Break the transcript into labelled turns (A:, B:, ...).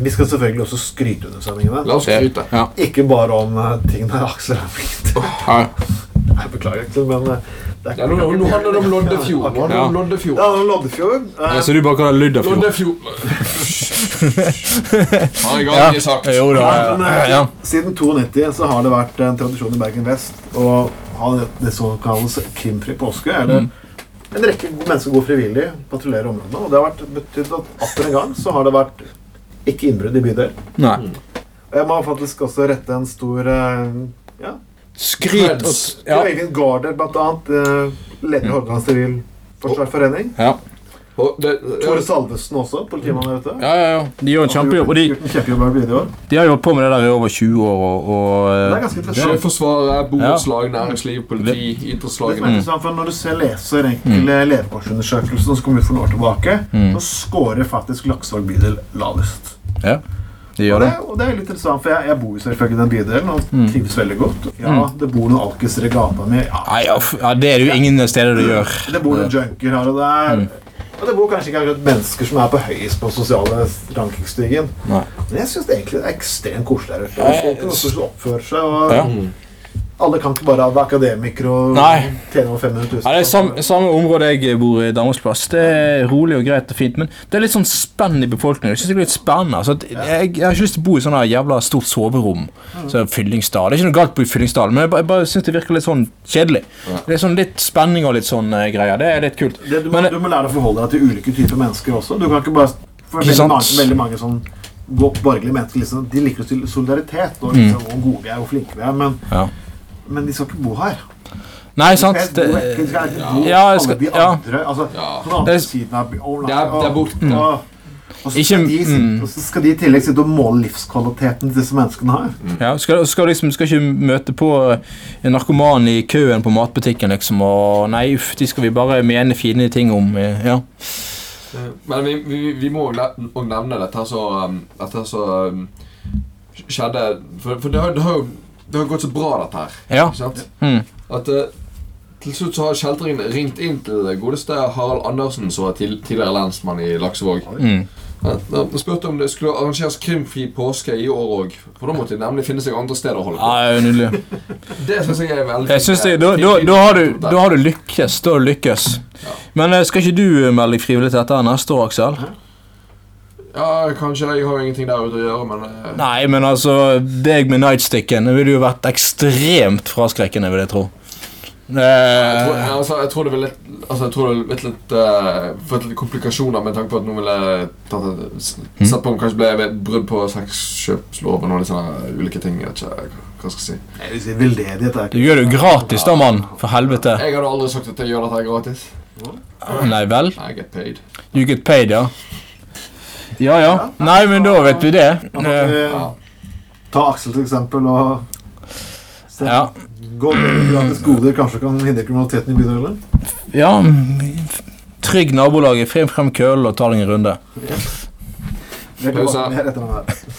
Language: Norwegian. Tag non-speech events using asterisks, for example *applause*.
A: Vi skal selvfølgelig også skryte under sendingene.
B: La oss skryte.
C: Ja.
A: Ikke bare om eh, ting der Aksel er
B: *laughs*
A: flink til.
C: Nei.
A: Jeg beklager, Aksel, men eh, det
B: Ja, nå, nå handler det om Loddefjord. Nå handler det om
C: Ja.
A: Ja,
B: Loddefjord.
A: det er Loddefjord. Eh,
C: Ja, så Altså, du bare kaller det Luddafjord?
B: Loddefjord. Har jeg
C: Ja.
B: aldri sagt.
C: Jo da.
A: Ja, men, eh,
C: Ja.
A: Siden 92 så har det vært en tradisjon i Bergen vest å ha det, det som kalles krimfri påske. Eller
B: Mm.
A: en rekke mennesker går frivillig, patruljerer områdene. Og det har vært betydd at atter en gang så har det vært ikke innbrudd i bydelen.
C: Nei.
A: Og Jeg må faktisk også rette en stor eh, ja,
C: Skryt og
A: ja.
C: Ja.
A: Øyvind Gaarder, blant annet. eh, Leder i Hordaland Sivilforsvarsforening.
C: Ja.
B: Og det-
A: Tore Salvesen også, politimann der ute.
C: Ja, ja, ja. De gjør en kjempejobb. Og de,
A: Gjort en kjempejobb her i byen i år.
C: de har jobbet på med det der i over 20 år, og, og
A: Det
C: eh,
A: er ganske interessant.
B: Sjøforsvaret, borettslag, næringsliv, politi, idrettslag.
A: Det som
C: Mm.
A: er interessant, for Når du ser leser enkelte levekårsundersøkelser som kom ut for noen år tilbake,
C: Mm.
A: så scorer faktisk Laksevåg bydel lavest.
C: ja, de
A: Og
C: gjør
A: det,
C: det. Mm.
A: og det er litt interessant, for jeg, jeg bor jo selvfølgelig i den bydelen og trives veldig godt. Ja, det bor noen alkiser i gata mi. Ja,
C: Nei, ja, f- ja, det er det jo ingen steder du gjør.
A: det bor noen junker her og der.
C: Mm.
A: Og det bor kanskje ikke akkurat mennesker som er på høyest på den sosiale rankingstigen.
C: Nei.
A: Men jeg syns egentlig det er ekstremt koselig der ute. Folk kan også oppføre seg. og...
C: Ja.
A: Alle kan ikke bare være akademikere og
C: Nei.
A: tjene over 500 000.
C: Ja, det er samme, samme område jeg bor i, Damhus plass. Det er rolig og greit og fint, men det er litt sånn spenn i befolkningen. Jeg synes det er litt spennende. Altså, at jeg, jeg har ikke lyst til å bo i sånn her jævla stort soverom.
A: Mm.
C: Så er Fyllingsdal. Det er ikke noe galt på Fyllingsdal, men jeg bare, jeg bare synes det virker litt sånn kjedelig. Det er sånn litt spenning og litt sånn eh, greier. Det er litt kult.
A: Det, du, må,
C: Men-
A: du må lære å forholde deg til ulike typer mennesker også. Du kan ikke bare For
C: Ikke
A: veldig
C: sant?
A: mange, veldig mange sånn godt borgerlige mennesker liksom, De liker å stille solidaritet
C: Mm.
A: og liksom, hvor gode vi er, hvor flinke vi er, men,
C: Ja.
A: men de skal ikke bo her.
C: Nei, sant?
A: De skal
C: Det,
A: bo vekk, de skal ikke bo
C: Ja, jeg
A: alle
C: skal-
A: de
C: ja.
A: andre altså,
B: Ja.
A: på den
C: Det
A: andre
C: er-
A: siden av by- og-
B: Det er- det er borte.
A: og- og- og så
C: Ikke-
A: skal, de, sitte-
C: mm.
A: og så skal de i tillegg sitte og måle livskvaliteten til disse menneskene har.
C: ja, skal, skal liksom skal ikke møte på eh, en narkoman i køen på matbutikken, liksom, og nei, uff, de skal vi bare mene fine ting om. eh, Ja. Mm.
B: Men vi, vi, vi må òg nevne dette her så, um, dette her så um, skjedde For, for det, har, det har jo det har gått så bra, dette her.
C: Ja.
B: Ikke sant?
C: Mm.
B: At eh, til slutt så har kjeltringen ringt inn til godeste Harald Andersen, som var til, tidligere lensmann i Laksevåg.
C: Mm.
B: Han han spurte om det skulle arrangeres krimfri påske i år òg. For da måtte de nemlig finne seg andre steder å holde
C: Ja,
B: på.
C: det er jo nydelig.
B: Det synes jeg er veldig
C: Ah. Jeg synes det, da, da, da, har du, da har du lykkes. Da har du lykkes. Men eh, skal ikke du eh, melde deg frivillig til dette neste år, Aksel?
B: Ja, kanskje. Jeg har jo ingenting der ute å gjøre, men eh,
C: Nei, men altså, deg med nightsticken det ville jo vært ekstremt fraskrekkende, vil jeg tro.
B: jeg tror,
C: Eh,
B: altså, jeg tror det ville altså, jeg tror det ville blitt litt, eh, fått litt komplikasjoner med tanke på at noen ville tatt, et- s-
C: Hmm?
B: sett på om kanskje ble ved brudd på sexkjøpsloven og litt sånne ulike ting. Jeg vet ikke hva jeg skal si.
A: Jeg vil si Veldedighet er
C: du
A: ikke
C: gjør det jo gratis, da, mann. For helvete.
B: Jeg hadde aldri sagt at jeg gjør dette gratis.
C: Nei vel?
B: I get paid.
C: You get paid, ja. Ja ja. Nei, men da vet vi det. Eh,
B: Ja.
A: Ta Aksel til eksempel og se.
C: Ja.
A: Gå gratis goder kanskje kan hindre kriminaliteten i bydelen?
C: ja. Trygg nabolaget, frem frem køllen og ta deg en runde.
A: Vi er
B: Pause.
A: tilbake mer etter den her.